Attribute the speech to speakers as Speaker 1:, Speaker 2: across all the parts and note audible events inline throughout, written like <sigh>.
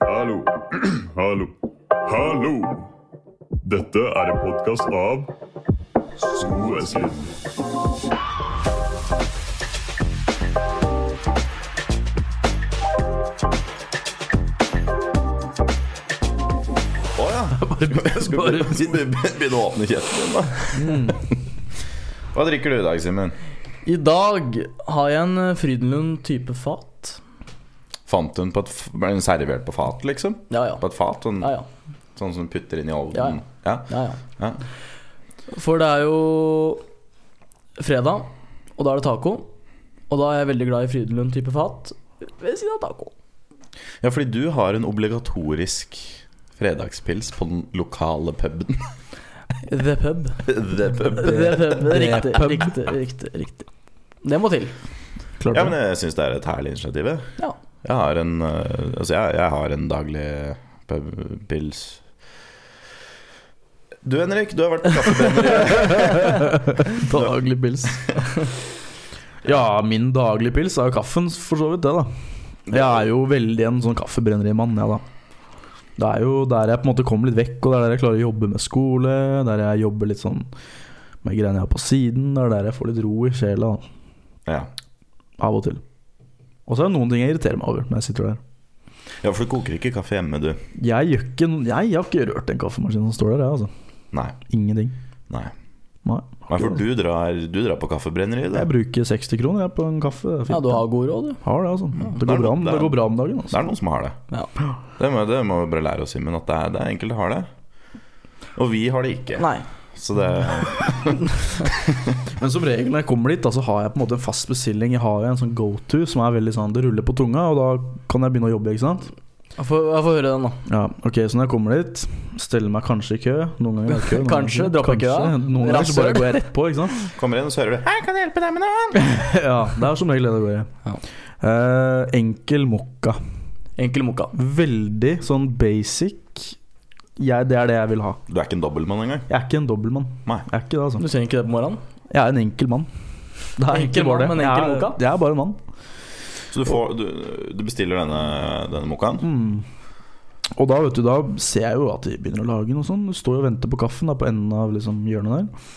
Speaker 1: Hallo. <clears throat> Hallo. Hallo. Dette er en podkast av Skoeslind.
Speaker 2: Å ja. Skal
Speaker 3: <laughs> Bare- Mm.
Speaker 2: vi be- be- begynne å åpne kjeften din, da. <laughs> Hva drikker du i dag, Simen?
Speaker 3: I dag har jeg en eh, Frydenlund type fat.
Speaker 2: Fant hun på et f- Ble hun servert på fat, liksom?
Speaker 3: Ja ja.
Speaker 2: På et fat? Sånn,
Speaker 3: ja, ja.
Speaker 2: sånn som du putter inn i
Speaker 3: Ja,
Speaker 2: ovnen?
Speaker 3: ja.
Speaker 2: Ja.
Speaker 3: ja, ja.
Speaker 2: Ja.
Speaker 3: For det er jo fredag, og da er det taco. Og da er jeg veldig glad i Frydenlund type fat ved siden av taco.
Speaker 2: ja, fordi du har en obligatorisk fredagspils på den lokale puben.
Speaker 3: <laughs> The pub.
Speaker 2: The pub.
Speaker 3: <laughs> The pub. Riktig, riktig, riktig, riktig. Det må til.
Speaker 4: Klart
Speaker 2: Ja, men
Speaker 4: det.
Speaker 2: jeg syns det er et herlig initiativ. jeg.
Speaker 3: Ja.
Speaker 2: Jeg har en, eh, altså jeg, jeg har en daglig pub- pils Du, Henrik, du har vært på
Speaker 3: <laughs>
Speaker 2: kaffebrenner.
Speaker 4: Daglig pils. <laughs> Ja, min daglige pils er jo kaffen, for så vidt det, da. Jeg er jo veldig en sånn kaffebrennerimann, jeg, da. Det er jo der jeg på en måte kommer litt vekk, og det er der jeg klarer å jobbe med skole, der jeg jobber litt sånn med greiene jeg har på siden, det er der jeg får litt ro i sjela, da.
Speaker 2: Ja.
Speaker 4: Av og til. Og så er det noen ting jeg irriterer meg over når jeg sitter der.
Speaker 2: Ja, for du koker ikke kaffe hjemme, du.
Speaker 4: Jeg, gjør ikke, jeg har ikke rørt den kaffemaskinen som står der, jeg, altså.
Speaker 2: Nei.
Speaker 4: Ingenting.
Speaker 2: Nei,
Speaker 4: Nei.
Speaker 2: Nei for du drar, du drar på kaffebrenneriet,
Speaker 4: Jeg
Speaker 2: du.
Speaker 4: bruker 60 kroner jeg, på en kaffe. det er fint,
Speaker 3: ja, du
Speaker 4: det.
Speaker 3: har god råd, du.
Speaker 4: Har det, altså. Det
Speaker 2: Det er
Speaker 4: går bra, om-
Speaker 2: noe-
Speaker 4: det går bra om dagen.
Speaker 2: Det
Speaker 4: Altså.
Speaker 2: er noen som har det.
Speaker 3: Ja.
Speaker 2: Det må, det må vi bare lære oss, Simen, at det er, det er enkelte har det. Og vi har det ikke.
Speaker 3: Nei.
Speaker 2: Så det
Speaker 4: Men som regel når jeg kommer dit, da, så har jeg på en måte en fast bestilling. Jeg har jo en sånn go-to som er veldig sånn Det ruller på tunga, og da kan jeg begynne å jobbe, ikke sant?
Speaker 3: Jeg får, jeg får høre den, da.
Speaker 4: Ja, ok, Så når jeg kommer dit, steller meg kanskje i kø. Noen ganger i kø. Noen
Speaker 3: Kanskje,
Speaker 4: ganger-
Speaker 3: dropper
Speaker 4: kanskje.
Speaker 3: køa.
Speaker 4: Noen ganger så bare
Speaker 3: Rasshøl.
Speaker 4: går jeg rett på, ikke
Speaker 2: <laughs>
Speaker 4: sant?
Speaker 2: kommer inn, og så hører du 'Hei, kan jeg hjelpe deg med noe?'
Speaker 4: Ja, det er som regel det det går i.
Speaker 3: Ja.
Speaker 4: Eh, enkel mokka.
Speaker 3: Enkel mokka.
Speaker 4: Veldig sånn basic. Jeg, det er det jeg vil ha.
Speaker 2: Du er ikke en dobbeltmann engang.
Speaker 4: Jeg er ikke en dobbeltmann.
Speaker 2: Nei.
Speaker 4: Jeg er ikke det, altså.
Speaker 3: Du trenger ikke det på morgenen?
Speaker 4: Jeg er en enkel mann. Det
Speaker 3: Enkel
Speaker 4: egentlig bare
Speaker 3: mann, men enkel
Speaker 4: jeg,
Speaker 3: mokka?
Speaker 4: er, jeg er bare en mann.
Speaker 2: Så du, får, du, du bestiller denne, denne mokkaen.
Speaker 4: Mm. Og da vet du, da ser jeg jo at de begynner å lage noe sånn Du står jo og venter på kaffen da, på enden av liksom, hjørnet der.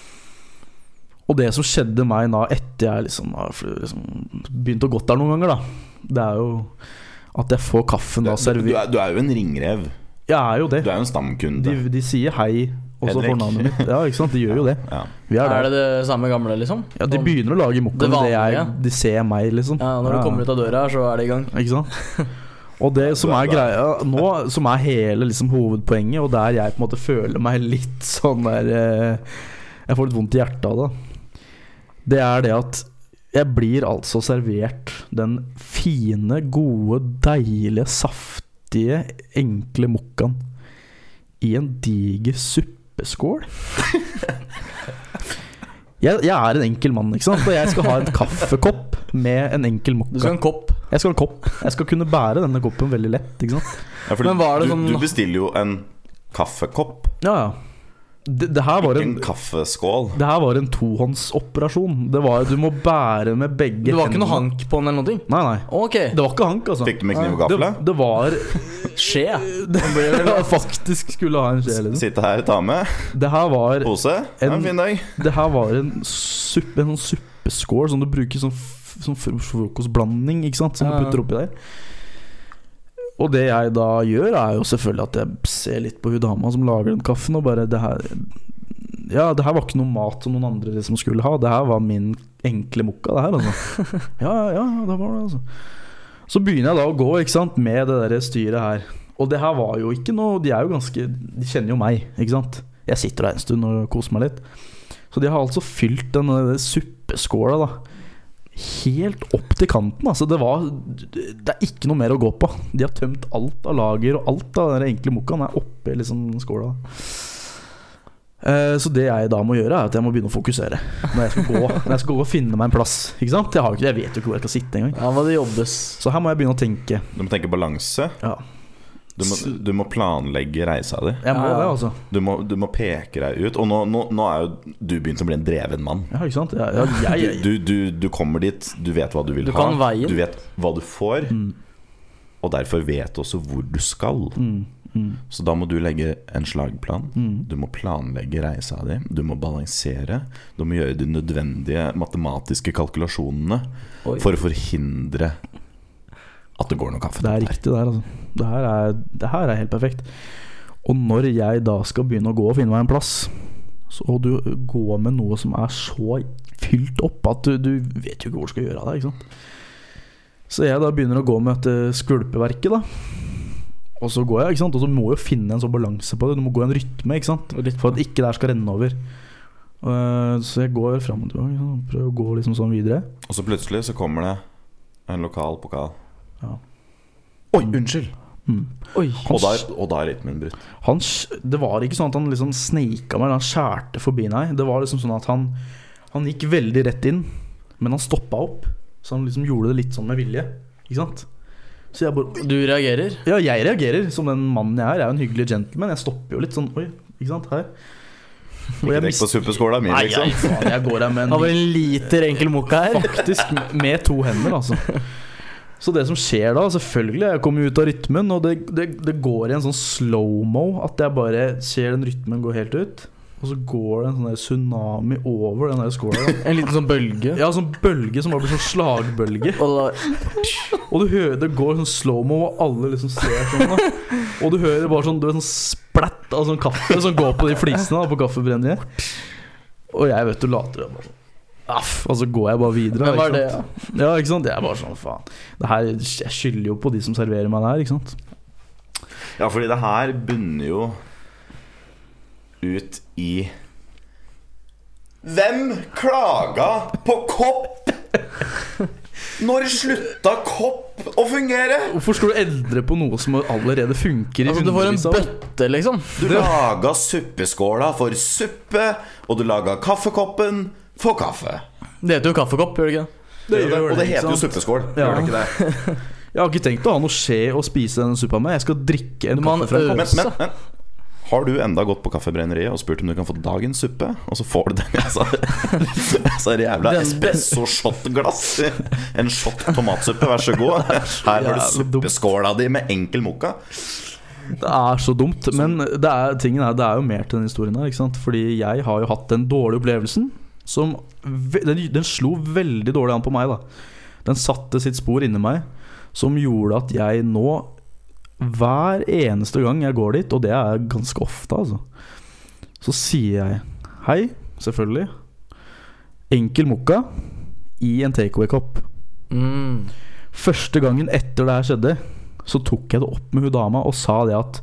Speaker 4: Og det som skjedde meg da etter jeg liksom, har fl- liksom begynt å gått der noen ganger, da det er jo at jeg får kaffen
Speaker 2: Du,
Speaker 4: da
Speaker 2: du,
Speaker 4: servert.
Speaker 2: er, du er jo en ringrev.
Speaker 4: Jeg er jo det.
Speaker 2: Du er jo en stamkunde.
Speaker 4: De, de sier hei, og så
Speaker 2: Henrik.
Speaker 4: fornavnet mitt. Ja, ikke sant? De gjør jo
Speaker 2: <laughs>
Speaker 4: det.
Speaker 2: Ja.
Speaker 4: Vi er
Speaker 3: Er
Speaker 4: der.
Speaker 3: det det samme gamle, liksom?
Speaker 4: Ja, de begynner å lage mokka
Speaker 3: Det
Speaker 4: med det jeg
Speaker 3: vanlige.
Speaker 4: De ser meg, liksom.
Speaker 3: Ja, Når du kommer ut av døra her, så er det i gang.
Speaker 4: Ikke <laughs> sant? Og det som er greia nå, som er hele liksom, hovedpoenget, og der jeg på en måte føler meg litt sånn der eh, Jeg får litt vondt i hjertet av det. Det er det at jeg blir altså servert den fine, gode, deilige, saftige, enkle mokkaen i en diger suppeskål. Jeg, jeg er en enkel mann, ikke sant? og jeg skal ha en kaffekopp med en enkel mokka.
Speaker 3: Du skal ha en kopp.
Speaker 4: Jeg skal ha en kopp. Jeg skal kunne bære denne koppen veldig lett. Ikke sant?
Speaker 2: Ja, for
Speaker 3: Men var det
Speaker 2: du,
Speaker 3: sånn-
Speaker 2: du bestiller jo en kaffekopp,
Speaker 4: Ja, ja. Det, det her var
Speaker 2: ikke
Speaker 4: en
Speaker 2: en kaffeskål.
Speaker 4: det her var en tohåndsoperasjon. Det var Du må bære med begge
Speaker 3: Det var ikke noe
Speaker 4: hendene.
Speaker 3: hank på den eller noe?
Speaker 4: Nei, nei.
Speaker 3: Ok.
Speaker 4: Det var ikke hank, altså.
Speaker 2: Fikk du med kniv og
Speaker 4: det,
Speaker 2: gaffel?
Speaker 4: det <laughs> var
Speaker 3: Skje.
Speaker 4: det Faktisk skulle ha en sjel. Liksom.
Speaker 2: Sitte her, ta med
Speaker 4: Det her var,
Speaker 2: pose. Det er
Speaker 4: En-
Speaker 2: en fin dag.
Speaker 4: det her var en, suppe, en sånn suppeskål som du bruker som, f- som fro- frokostblanding, ikke sant? Som
Speaker 3: Ja,
Speaker 4: du
Speaker 3: ja.
Speaker 4: putter oppi der. Og det jeg da gjør, er jo selvfølgelig at jeg ser litt på hun dama som lager den kaffen, og bare det her Ja, det her var ikke noe mat som noen andre liksom skulle ha. Det her var min enkle mokka, det her, altså. Ja, ja, ja, det var det, altså. Så begynner jeg da å gå, ikke sant, med det der styret her. Og det her var jo ikke noe De er jo ganske De kjenner jo meg, ikke sant. Jeg sitter der en stund og koser meg litt. Så de har altså fylt den der suppeskåla, da. Helt opp til kanten. Altså, det var Det er ikke noe mer å gå på. De har tømt alt av lager, og alt av den der enkle mokkaen er oppi liksom skåla. Eh, Så det jeg da må gjøre, er at jeg må begynne å fokusere. Når jeg skal gå, når jeg skal gå og finne meg en plass. Ikke sant? Jeg, har, jo ikke- jeg vet jo ikke hvor jeg skal sitte engang.
Speaker 3: Her må det jobbes.
Speaker 4: Så her må jeg begynne å tenke.
Speaker 2: Du må tenke balanse.
Speaker 4: Ja,
Speaker 2: Du må, du må planlegge reisa di.
Speaker 4: jeg må
Speaker 3: Ja,
Speaker 4: det,
Speaker 3: ja.
Speaker 4: altså.
Speaker 2: Du må, du må peke deg ut. Og nå, nå, nå er jo du begynt å bli en dreven mann.
Speaker 4: Ja, ikke sant? Ja, ja, jeg, jeg,
Speaker 2: Du, du, du kommer dit, du vet hva du vil
Speaker 3: Du
Speaker 2: ha.
Speaker 3: kan veien.
Speaker 2: Du vet hva du får. og derfor vet også hvor du skal.
Speaker 4: Mm, mm,
Speaker 2: Så da må du legge en slagplan.
Speaker 4: mm.
Speaker 2: Du må planlegge reisa di, du må balansere. Du må gjøre de nødvendige matematiske kalkulasjonene
Speaker 3: Oi.
Speaker 2: for å forhindre at det går noe kaffe.
Speaker 4: Det er riktig der, altså. Det her er, det her er helt perfekt. Og når jeg da skal begynne å gå og finne meg en plass, så, og du går med noe som er så fylt opp at du, du vet jo ikke hvor du skal gjøre av deg, ikke sant. Så jeg da begynner å gå med dette skvulpeverket, da. Og så går jeg, ikke sant. Og så må jeg jo finne en sånn balanse på det. Du må gå i en rytme, ikke sant. For at ikke det her skal renne over. Eh, Så jeg går fram og tilbake. ikke sant? Prøver å gå liksom sånn videre.
Speaker 2: Og så plutselig så kommer det en lokal pokal.
Speaker 4: Ja.
Speaker 2: Oi, unnskyld!
Speaker 4: Mm.
Speaker 3: Oi.
Speaker 2: Og da, er- og da er rytmen brutt.
Speaker 4: han, sk- det var ikke sånn at han liksom sneika meg eller han skjærte forbi meg. Det var liksom sånn at han, han gikk veldig rett inn, men han stoppa opp. Så han liksom gjorde det litt sånn med vilje. Ikke sant? Så jeg bare
Speaker 3: Du reagerer?
Speaker 4: Ja, jeg reagerer som den mannen jeg er. Jeg er jo en hyggelig gentleman. Jeg stopper jo litt sånn Oi, ikke sant? Her. Og jeg
Speaker 2: Ikke tenk
Speaker 4: mister
Speaker 2: på suppeskåla mi,
Speaker 4: Nei,
Speaker 2: liksom.
Speaker 4: jeg, faen, jeg går her med
Speaker 3: Har
Speaker 4: en Eh,
Speaker 3: vel en liter enkel mokka her?
Speaker 4: Faktisk med to hender, altså. Så det som skjer da, selvfølgelig, jeg kommer ut av rytmen, og det, det, det går i en sånn slow-mo. At jeg bare ser den rytmen gå helt ut, og så går det en sånn der tsunami over den der
Speaker 3: <laughs>
Speaker 4: skåla. da.
Speaker 3: En liten sånn bølge.
Speaker 4: Ja, sånn bølge som bare blir sånn slagbølge.
Speaker 3: Og da,
Speaker 4: Og du hører det går sånn slow-mo, og alle liksom ser sånn. da Og du hører bare sånn, du vet, sånn splatt av sånn kaffe som går på de flisene da på kaffebrenneriet. Og jeg vet du later som. sånn, Aff, og så går jeg bare videre.
Speaker 3: hvem
Speaker 4: ikke
Speaker 3: var det?
Speaker 4: sant? Ja, ikke sant? Jeg er bare sånn, faen det her, Jeg skylder jo på de som serverer meg det her, ikke sant?
Speaker 2: Ja, fordi det her bunner jo ut i Hvem klaga på kopp? Når slutta kopp å fungere?
Speaker 4: Hvorfor skal du endre på noe som allerede funker i
Speaker 3: Altså, du får en
Speaker 4: hundrevis av år?
Speaker 3: bøtte, liksom.
Speaker 2: Du laga suppeskåla for suppe, og du laga kaffekoppen for kaffe.
Speaker 3: Det heter jo kaffekopp, gjør det ikke det?
Speaker 2: og det
Speaker 4: ikke
Speaker 2: heter jo
Speaker 4: sant?
Speaker 2: suppeskål.
Speaker 4: Ja.
Speaker 2: Gjør det ikke det?
Speaker 4: Jeg har ikke tenkt å ha noe skje og spise denne suppa med. Jeg skal drikke en
Speaker 3: Man
Speaker 4: kaffe fra en kopp.
Speaker 2: Men, Eh, men, men har du enda gått på Kaffebrenneriet og spurt om du kan få dagens suppe? Og så får du den <laughs> i altså, altså, en jævla
Speaker 3: Den-
Speaker 2: espresso-shot-glass. En shot tomatsuppe, vær så god. Her har du
Speaker 4: jævlig dumt.
Speaker 2: suppeskåla di med enkel mokka.
Speaker 4: Det er så dumt. Men det er, tingen er, det er jo mer til den historien her. Ikke sant? Fordi jeg har jo hatt den dårlige opplevelsen. Som, ve- den, den slo veldig dårlig an på meg. da Den satte sitt spor inni meg, som gjorde at jeg nå Hver eneste gang jeg går dit, og det er ganske ofte, altså, så sier jeg hei, selvfølgelig. Enkel mokka i en takeaway-kopp.
Speaker 3: Mm.
Speaker 4: Første gangen etter det her skjedde, så tok jeg det opp med hun dama og sa det at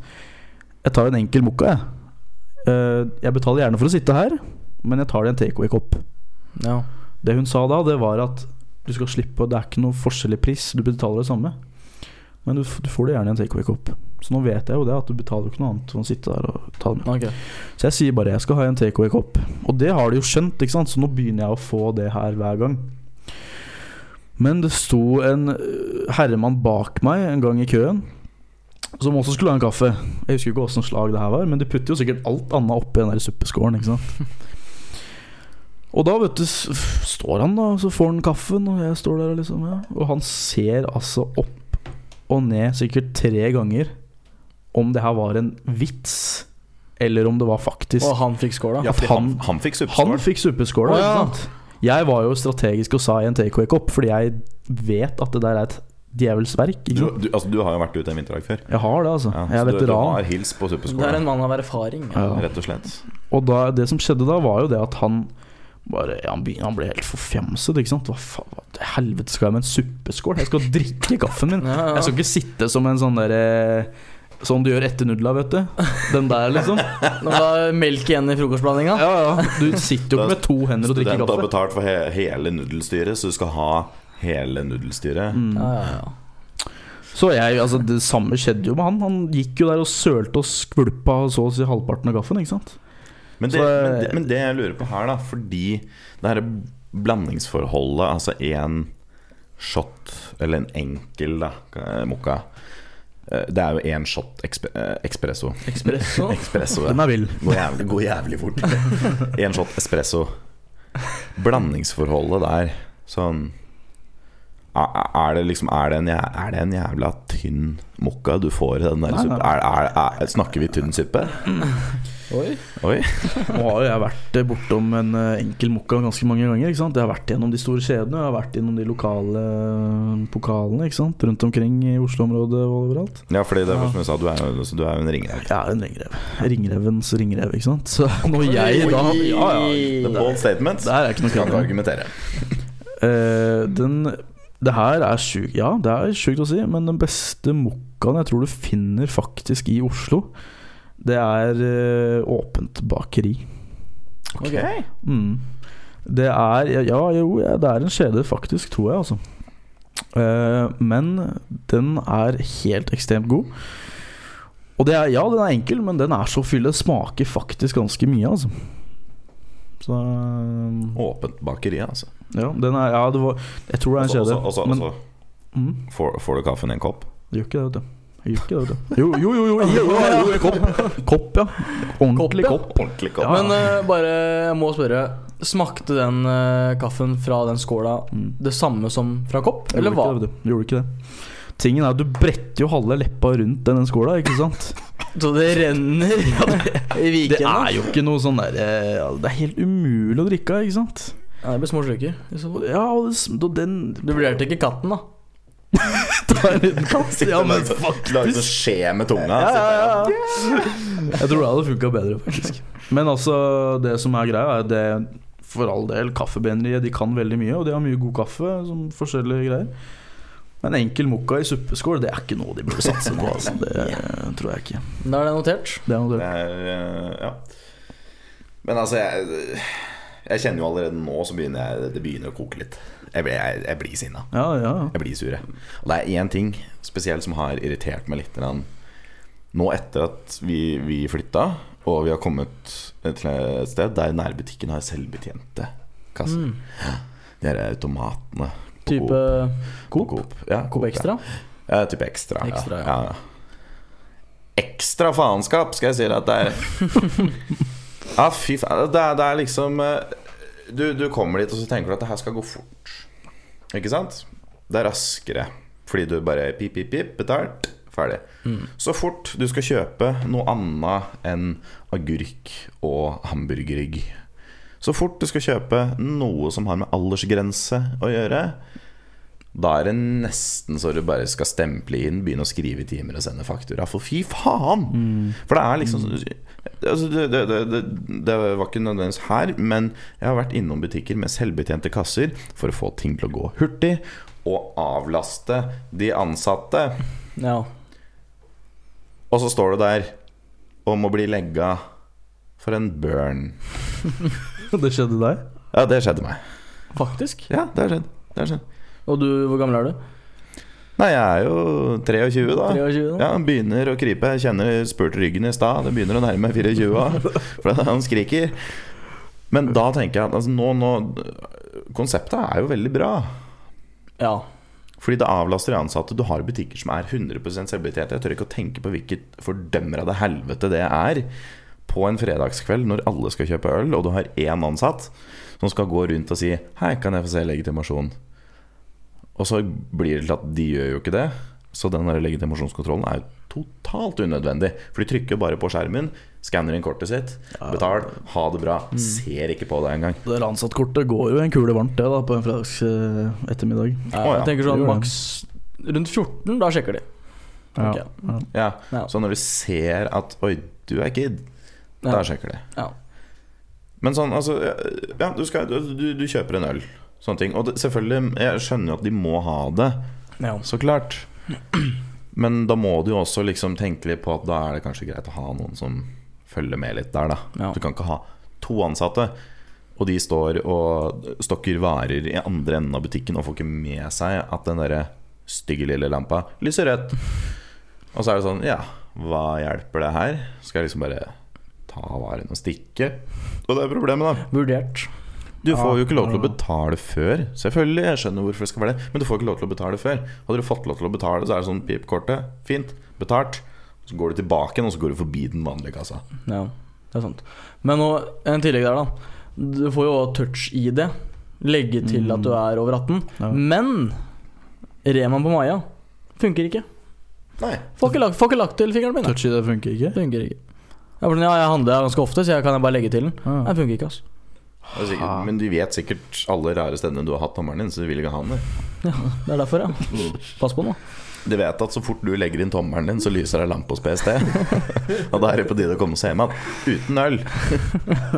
Speaker 4: Jeg tar en enkel mokka, jeg. Eh, Jeg betaler gjerne for å sitte her, men jeg tar det i en takeaway-kopp.
Speaker 3: Ja.
Speaker 4: Det hun sa da, det var at du skal slippe, det er ikke noe forskjell i pris, du betaler det samme. Men du, f- du får det gjerne i en takeaway-kopp. Så nå vet jeg jo det, at du betaler jo ikke noe annet for å sitte der og ta det med.
Speaker 3: Ok.
Speaker 4: Så jeg sier bare jeg skal ha en takeaway-kopp. Og det har de jo skjønt, ikke sant? så nå begynner jeg å få det her hver gang. Men det sto en øh, herremann bak meg en gang i køen, som også skulle ha en kaffe. Jeg husker ikke åssen slag det her var, men de putter jo sikkert alt annet oppi den der suppeskålen. ikke sant? Og da vet du, s- f- står han da, og så får han kaffen, og jeg står der og liksom ja. Og han ser altså opp og ned sikkert tre ganger om det her var en vits, eller om det var faktisk
Speaker 3: Og han fikk skåla?
Speaker 2: Ja, fordi han,
Speaker 4: han-
Speaker 2: han fikk
Speaker 4: han
Speaker 2: suppeskål.
Speaker 4: fikk suppeskåla,
Speaker 3: Å, ja.
Speaker 4: ikke sant? Jeg var jo strategisk og sa i en takeaway-kopp, fordi jeg vet at det der er et djevelsk verk.
Speaker 2: Du,
Speaker 4: Ikke sant?
Speaker 2: du, altså, du har jo vært ute en vinterdag før.
Speaker 4: Jeg har det, altså.
Speaker 2: Ja,
Speaker 4: jeg
Speaker 2: så
Speaker 4: er
Speaker 2: du, du
Speaker 4: veteran.
Speaker 2: har hils på
Speaker 3: Det er
Speaker 2: suppeskåla,
Speaker 3: en mann av erfaring.
Speaker 4: Ja.
Speaker 2: rett og slett.
Speaker 4: Og da, det som skjedde da, var jo det at han bare ja, han, begynte, han ble helt forfjamset, ikke sant? Hva faen, hva til helvete skal jeg med en suppeskål? Jeg skal drikke kaffen
Speaker 2: <laughs>
Speaker 4: min.
Speaker 3: Ja, ja.
Speaker 4: Jeg skal ikke sitte som en sånn derre Sånn du gjør etter nudla, vet du. Den der,
Speaker 2: <laughs>
Speaker 4: liksom.
Speaker 3: Når det er melk igjen i frokostblandinga?
Speaker 4: Ja, ja. Du sitter jo ikke med to hender og drikker
Speaker 2: Student har
Speaker 4: kaffe.
Speaker 2: betalt for he hele nudelstyret, så du skal ha hele nudelstyret.
Speaker 3: Ja, ja, ja.
Speaker 4: Så jeg, altså Det samme skjedde jo med han. Han gikk jo der og sølte og skvulpa så å si halvparten av gaffen. ikke sant?
Speaker 2: Men det,
Speaker 4: Så, eh,
Speaker 2: men, det, men det jeg lurer på her, da fordi det her blandingsforholdet, altså én shot, eller en enkel da, eh, mokka eh, Det er jo én shot ekspe, eh, espresso.
Speaker 3: Espresso?
Speaker 2: <laughs> Espresso,
Speaker 4: <laughs>
Speaker 2: ja.
Speaker 4: Den er vill.
Speaker 2: Går jævlig, går jævlig
Speaker 4: <laughs>
Speaker 2: fort. Én shot espresso. Blandingsforholdet der, sånn Er er det, liksom, er, det en, jæ- er det en jævla tynn mokka du får i den der
Speaker 4: Nei, nei.
Speaker 2: suppe? Er, er, er, snakker vi tynn suppe?
Speaker 3: Oi.
Speaker 2: Oi.
Speaker 4: Nå har jo jeg vært bortom en eh, enkel mokka ganske mange ganger. ikke sant? Jeg har vært gjennom de store kjedene, jeg har vært gjennom de lokale eh, pokalene ikke sant? rundt omkring i Oslo-området og overalt.
Speaker 2: Ja, fordi det var som jeg sa, du er jo så du er jo en ringrev.
Speaker 4: Jeg er en ringrev. Ringrevens ringrev, ikke sant. Så når jeg da Ja, ja.
Speaker 2: The bold statement.
Speaker 4: Det her er ikke noe
Speaker 2: Kan du
Speaker 4: kødd.
Speaker 2: argumentere?
Speaker 4: Eh, den Det her er sjukt Ja, det er sjukt å si, men den beste mokkaen jeg tror du finner faktisk i Oslo, det er eh, åpent bakeri.
Speaker 3: Ok.
Speaker 4: Mm. Det er Ja, jo, ja, det er en kjede, faktisk, tror jeg, altså. Eh, men den er helt ekstremt god. Og det er, ja, den er enkel, men den er så fyll. Det smaker faktisk ganske mye, altså. Så eh,
Speaker 2: Åpent bakeri, altså.
Speaker 4: Ja, den er Ja, det var Jeg tror det er en
Speaker 2: Også-
Speaker 4: kjede.
Speaker 2: også- også-
Speaker 4: men-
Speaker 2: også-
Speaker 4: Mm.
Speaker 2: Får, får du kaffen i en kopp?
Speaker 4: Gjør ikke det, vet du. Jeg Gjør ikke det, vet du. Jo, jo, jo. jo, jo, jo, jo, jo kopp. kopp, ja. Ordentlig kopp.
Speaker 2: Ordentlig kopp.
Speaker 3: Men eh, bare, jeg må spørre. Smakte den eh, kaffen fra den skåla
Speaker 4: Mm.
Speaker 3: det samme som fra kopp,
Speaker 4: Gjorde
Speaker 3: eller hva?
Speaker 4: ikke det, vet du. Gjorde ikke det. Tingen er at du bretter jo halve leppa rundt den skåla, ikke sant?
Speaker 3: Så det renner <laughs> i
Speaker 4: Det
Speaker 3: vikene?
Speaker 4: er jo ikke noe sånn der eh, ja, Det er helt umulig å drikke av, ikke sant?
Speaker 3: Nei, det blir små sluker. i så fall.
Speaker 4: Ja, og det, sm- da den <laughs>
Speaker 3: Du vurderte ikke katten, da?
Speaker 4: tar en liten kast. Ja, men
Speaker 2: faktisk Lage sånn skje med tunga.
Speaker 4: ja, ja, ja. Jeg tror det hadde funka bedre, faktisk. Men altså, det som er greia, er det for all del Kaffebrenneriet de kan veldig mye, og de har mye god kaffe. Som forskjellige greier Men enkel mokka i suppeskål, det er ikke noe de burde satse på. Altså. Det eh, tror jeg ikke.
Speaker 3: Da er det notert.
Speaker 4: Det er noe
Speaker 2: Det
Speaker 4: det.
Speaker 2: er, eh, ja. Men altså, jeg, jeg kjenner jo allerede nå så begynner jeg, det begynner å koke litt. Jeg, blir- jeg, jeg blir sinna.
Speaker 4: Ja, ja, ja.
Speaker 2: Jeg blir sur, jeg. Og det er én ting spesielt som har irritert meg litt. grann. Nå etter at vi, vi flytta, og vi har kommet eh, til et sted der nærbutikken har selvbetjente kasser.
Speaker 3: Mm.
Speaker 2: De her automatene. på
Speaker 3: Type
Speaker 2: Coop. På
Speaker 3: Coop?
Speaker 2: Coop. Ja,
Speaker 3: Coop
Speaker 2: ja.
Speaker 3: Extra?
Speaker 2: Ja, type ekstra.
Speaker 3: Ekstra, ja.
Speaker 2: ja. Ja, ja. Ekstra faenskap, skal jeg si deg at det er. ja, fy faen. Det, er- det er liksom eh, du, du kommer dit, og så tenker du at det her skal gå fort. Ikke sant? Det er raskere. Fordi du bare pip, pip, pip, betalt, ferdig. Så fort du skal kjøpe noe annet enn agurk og hamburgerrygg. Så fort du skal kjøpe noe som har med aldersgrense å gjøre, da er det nesten så du bare skal stemple inn, begynne å skrive i timer og sende faktura. For fy faen! For det er liksom altså, det, det, det, det, det var ikke nødvendigvis her, men jeg har vært innom butikker med selvbetjente kasser for å få ting til å gå hurtig, og avlaste de ansatte.
Speaker 3: Ja.
Speaker 2: Og så står du der om å bli legga for en burn.
Speaker 4: Det skjedde deg?
Speaker 2: Ja, det skjedde meg.
Speaker 3: Faktisk.
Speaker 2: Ja, det har skjedd. Det har skjedd.
Speaker 3: Og du, hvor gammel er du?
Speaker 2: Nei, jeg er jo 23
Speaker 4: Ah,
Speaker 2: da.
Speaker 3: 23 nå?
Speaker 2: Ja, han begynner å krype. Jeg kjenner jeg spurte ryggen i stad. Det begynner å nærme meg 24 år, for han skriker. Men da tenker jeg at altså, nå, nå Konseptet er jo veldig bra.
Speaker 3: Ja.
Speaker 2: Fordi det avlaster de ansatte. Du har butikker som er 100 selvbetjente. Jeg tør ikke å tenke på hvilket fordømrede helvete det er på en fredagskveld når alle skal kjøpe øl, og du har én ansatt som skal gå rundt og si 'Hei, kan jeg få se legitimasjon?' Og så blir det til at de gjør jo ikke det. Så den der legitimasjonskontrollen er jo totalt unødvendig. For de trykker bare på skjermen, skanner inn kortet sitt, betal, ha det bra.
Speaker 3: Mm.
Speaker 2: Ser ikke på det engang.
Speaker 4: Det der ansattkortet går jo i en kule varmt, det, da, på en fredags eh, ettermiddag.
Speaker 2: Å, ja.
Speaker 3: Jeg tenker sånn
Speaker 4: Det gjør det.
Speaker 3: maks rundt 14, da sjekker de.
Speaker 4: Ja.
Speaker 3: Ok.
Speaker 4: Ja.
Speaker 2: Ja.
Speaker 3: Ja.
Speaker 2: Så når du ser at 'oi, du er kid',
Speaker 3: Ja.
Speaker 2: da sjekker de.
Speaker 3: Ja.
Speaker 2: Men sånn, altså Ja, du, skal, du, du kjøper en øl. Sånne ting. Og det, selvfølgelig, jeg skjønner jo at de må ha det,
Speaker 3: ja.
Speaker 2: så klart. Men da må du jo også liksom tenke litt på at da er det kanskje greit å ha noen som følger med litt der, da.
Speaker 3: Ja.
Speaker 2: Du kan ikke ha to ansatte, og de står og stokker varer i andre enden av butikken og får ikke med seg at den derre stygge lille lampa lyser rødt. Og så er det sånn Ja, hva hjelper det her? Skal jeg liksom bare ta varen og stikke? Og det er problemet, da.
Speaker 3: Vurdert.
Speaker 2: Du får jo ikke lov til å
Speaker 4: ja.
Speaker 2: betale før. Selvfølgelig, jeg skjønner hvorfor det skal være det, men du får ikke lov til å betale før. Hadde du fått lov til å betale, så er det sånn pipkortet. Fint, betalt. Så går du tilbake igjen, og så går du forbi den vanlige kassa.
Speaker 3: Ja, det er sant. Men nå, en tillegg der, da.
Speaker 4: Mm.
Speaker 3: Du får jo også touch-ID. Legge til at du er over 18.
Speaker 4: Ja.
Speaker 3: Men Remaen på Maja funker ikke.
Speaker 2: Nei.
Speaker 3: Får ikke lagt, får ikke lagt til fingeren min. da.
Speaker 4: Touchy, det funker ikke?
Speaker 3: Funker ikke. Jeg, bare sånn, ja, jeg handler ganske ofte, så jeg kan jeg bare legge til den.
Speaker 4: Ah.
Speaker 3: Den funker ikke, altså.
Speaker 2: Det er sikkert,
Speaker 4: Ha.
Speaker 2: men de vet sikkert alle rare stedene du har hatt tommelen din, så de vil ikke ha den der.
Speaker 3: Det er
Speaker 2: <laughs>
Speaker 3: derfor, ja.
Speaker 2: Mm.
Speaker 3: Pass på nå.
Speaker 2: De vet at så fort du legger inn tommelen din, så lyser det lampe hos PST. <laughs> og da er det på tide å komme seg hjem igjen. Uten øl.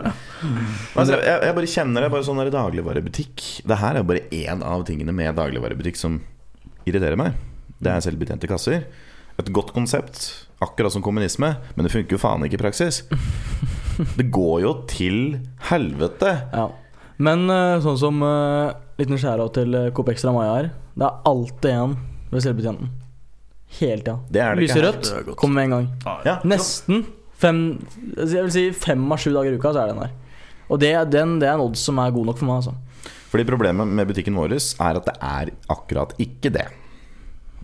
Speaker 2: altså, jeg, jeg bare kjenner det bare sånn der i dagligvarebutikk. Det her er bare én av tingene med dagligvarebutikk som irriterer meg. Det er selvbetjente kasser. Et godt konsept, akkurat som kommunisme, men det funker jo faen ikke i praksis. Det går jo til helvete.
Speaker 3: Ja. Men eh, sånn som uh, liten skjæra til eh, Coop Extra Maja her. Det er alltid en ved selvbetjenten. Hele tida.
Speaker 2: Det er det ikke eh,
Speaker 3: Lyser
Speaker 2: her.
Speaker 3: rødt,
Speaker 4: Det er godt.
Speaker 3: kommer med en gang.
Speaker 2: Ja.
Speaker 3: Nesten fem altså, Jeg vil si fem av sju dager i uka, så er den der. Og det, er- den, det er en odds som er god nok for meg, altså.
Speaker 2: Mm. Fordi problemet med butikken vår er at det er akkurat ikke det.